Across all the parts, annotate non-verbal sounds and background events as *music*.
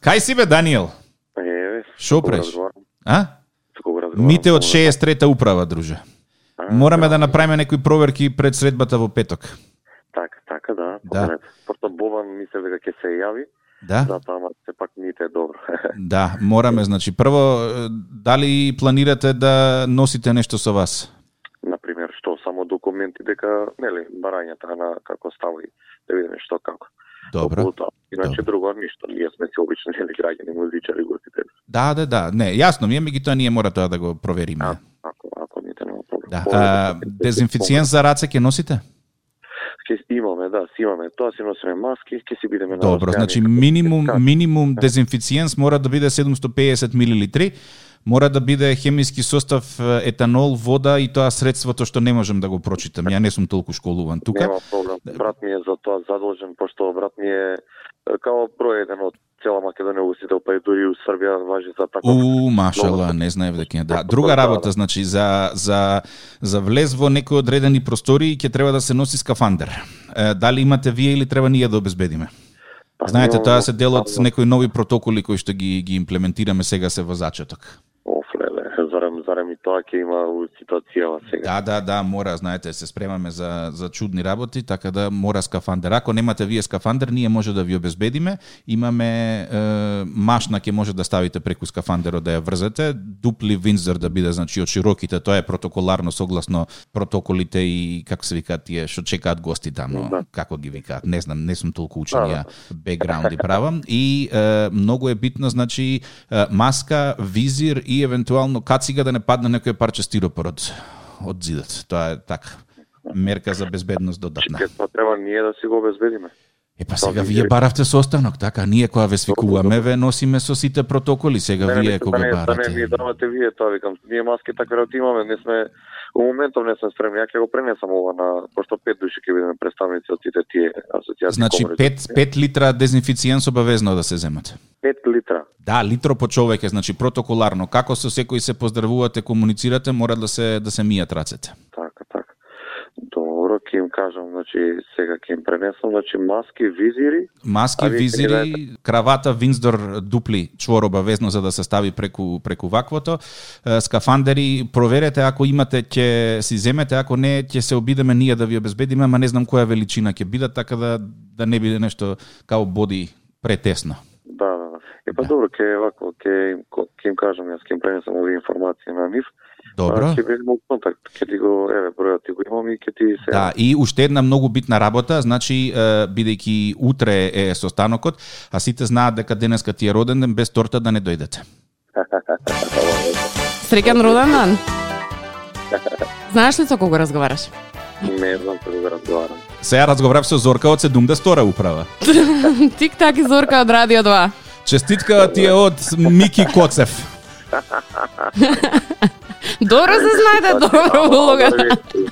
Кај си бе, Даниел? Еве. Шо кога преш? разговарам, А? со кого разговарам, Мите од кога- 63-та управа, друже. А, Мораме да направиме некои проверки пред средбата во петок. Така, така, да. Да. Да. Просто Бобан мислев дека ќе се јави, Да? затоа ама сепак мите е добро. *laughs* Да, мораме, значи. Прво, е, дали планирате да носите нешто со вас? Например, што само документи дека, нели, барањата на како става и да видиме што како. Добро. Околу тоа. Иначе друго ништо. Ние сме си обични *laughs* нели граѓани, музичари, гостители. Да, да, да. Не, јасно ми е, меѓутоа ние мора тоа да го провериме. Ако ако ните нема проблем. Да. Повеќе А, сме- дезинфициент за раце ќе носите? Ќе имаме, да, си имаме. Тоа си носиме маски, ќе си бидеме на Добро, значи расстојание. минимум да Така. минимум дезинфициент мора да биде 750 милилитри, мора да биде хемиски состав е, етанол, вода и тоа средството што не можам да го прочитам. Ја не сум толку школуван тука. Нема проблем. Брат ми е за тоа задолжен, пошто брат ми е е, као број еден од цела Македонија усидел, па и дури у Србија важи за така. У, машала, не знаев дека да. Друга работа, значи за за за влез во некои одредени простории ќе треба да се носи скафандер. Е, дали имате вие или треба ние да обезбедиме? Па, Знаете, немам- тоа се дел од Ама, некои нови протоколи кои што ги ги имплементираме сега се во зачеток. Оф, леле, зарем, зарем и тоа ќе има у ситуацијава сега. Да, да, да, мора, знаете, се спремаме за за чудни работи, така да мора скафандер. Ако немате вие скафандер, ние може да ви обезбедиме. Имаме е, машна ќе може да ставите преку скафандерот да ја врзете, дупли винзер да биде, значи од широките, тоа е протоколарно согласно протоколите и како се викаат тие што чекаат гости таму, Да. како ги викаат, не знам, не сум толку учен Да, да. ја бекграунд и правам и е, многу е битно значи е, маска, визир и евентуално кацига да не падне некој парче стиропор од од зидот. Тоа е така мерка за безбедност додатна. Ќе тоа треба ние да си го обезбедиме. Е па тоа сега ми вие е. баравте состанок, така ние која ве свикуваме, ве носиме со сите протоколи, сега Не, не, вие мислам, да кога не, да не барате. ви давате вие тоа викам. Ние маски така веројатно имаме, не сме у моментов не сме спремни. Ја ќе го пренесам ова на пошто пет души ќе бидеме представници од сите тие асоцијации. Значи комори. 5 5 литра дезинфициент обавезно да се земат. пет литра. Да, литро по човек е, значи протоколарно, како со секој се поздравувате, комуницирате, мора да се да се мијат рацете. Така, така. Добро, ќе им кажам, значи сега ќе им пренесам, значи маски, визири, Маски, А вие ќе ни визири, кравата, винздор, дупли чвор обавезно за да се стави преку преку ваквото. Е, Скафандери проверете ако имате ќе си земете, ако не ќе се обидеме ние да ви обезбедиме, ама не знам која величина ќе биде така да да не биде нешто као боди претесно. да, да, да. Е па добро, ќе вако, ќе им ко- ќе им кажам, јас ќе им пренесам овие информации на нив. Добро. А, Ќе бидеме во контакт, ќе ти го, еве, бројот ти го имам и ќе ти се Да, и уште една многу битна работа, значи е, бидејќи утре е состанокот, а сите знаат дека денеска ти е роден ден, без торта да не дојдете. Среќен роден *laughs* ден. Знаеш ли со кого разговараш? *laughs* не знам како да разговарам. Сега разговарав со Зорка од 72 управа. Тик-так и Зорка од Радио 2. Честитка ти е од Мики Коцев. Добро се знаете, добро улога.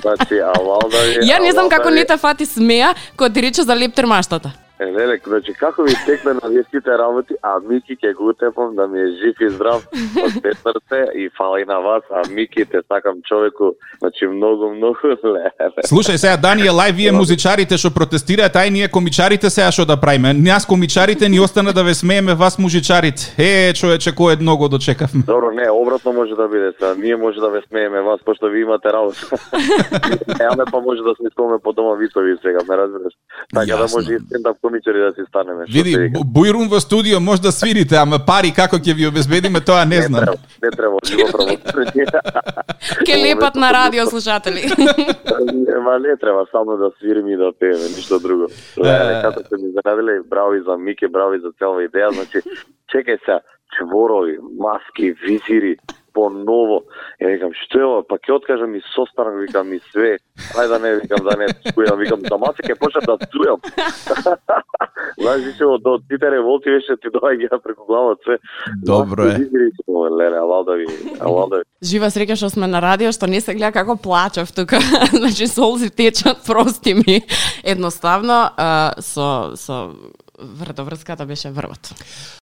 Значи, а валда ви... *laughs* Ја не знам а, како валда ви- не те фати смеа кога ти рече за лептер маштата. Е, леле, значи, како ви текна на вие сите работи, а Мики ќе го утепам да ми е жив и здрав од се срце и фала и на вас, а Мики те сакам човеку, значи, многу, многу, *laughs* леле. Слушај сега Даније лај вие музичарите што протестираат, ај ние комичарите сега што да правиме? Нас комичарите ни остана да ве смееме вас музичарите. Е, човече, кое многу дочекавме. Добро, не, обратно може да биде, сега ние може да ве смееме вас, пошто ви имате работа. Е, аме па може да се искаме по дома вицови сега, ме разбираш. Така да Јасно. може и стендап комичари да си станеме. што Види, ти викам. бу- бујрум во студио може да свирите, ама пари како ќе ви обезбедиме тоа не Не знам. треба, не треба, живо Ке лепат на радио *laughs* слушатели. Ма не треба само да свириме и да пееме, ништо друго. Леле, Како се ми зарадиле, браво и за Мике, браво и за цела идеја, значи, чекај се, чворови, маски, визири, поново. Ја викам, што е ова? Па ќе откажам и состанок, викам и све. Ај да не, викам да не стујам, викам да маце ќе почнам да *laughs* стујам. Знаеш, више од од сите револти веќе ти доаѓа преку главот све. Добро е. Маски, визири, ова, Леле, алал да ви, алал да ви. Жива среќа што сме на радио, што не се гледа како плачев тука. *laughs* значи солзи течат, прости ми. Едноставно а, со со врдоврската беше врвот.